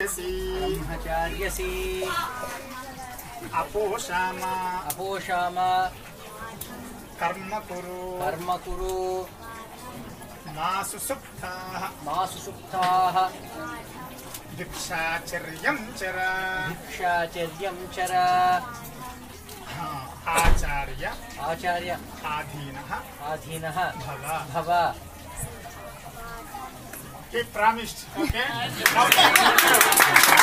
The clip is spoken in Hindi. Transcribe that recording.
ब्रह्मचार्यसि ब्रह्मचार्यसि अपोषाम अपोषाम कर्म कुरु कर्म कुरु मा सुसुप्ताः मा सुसुप्ताः भिक्षाचर्यम् चर भिक्षाचर्यं चर हा, आचार्य आचार्य आधीनः आधीनः भव भव He promised, okay? Now,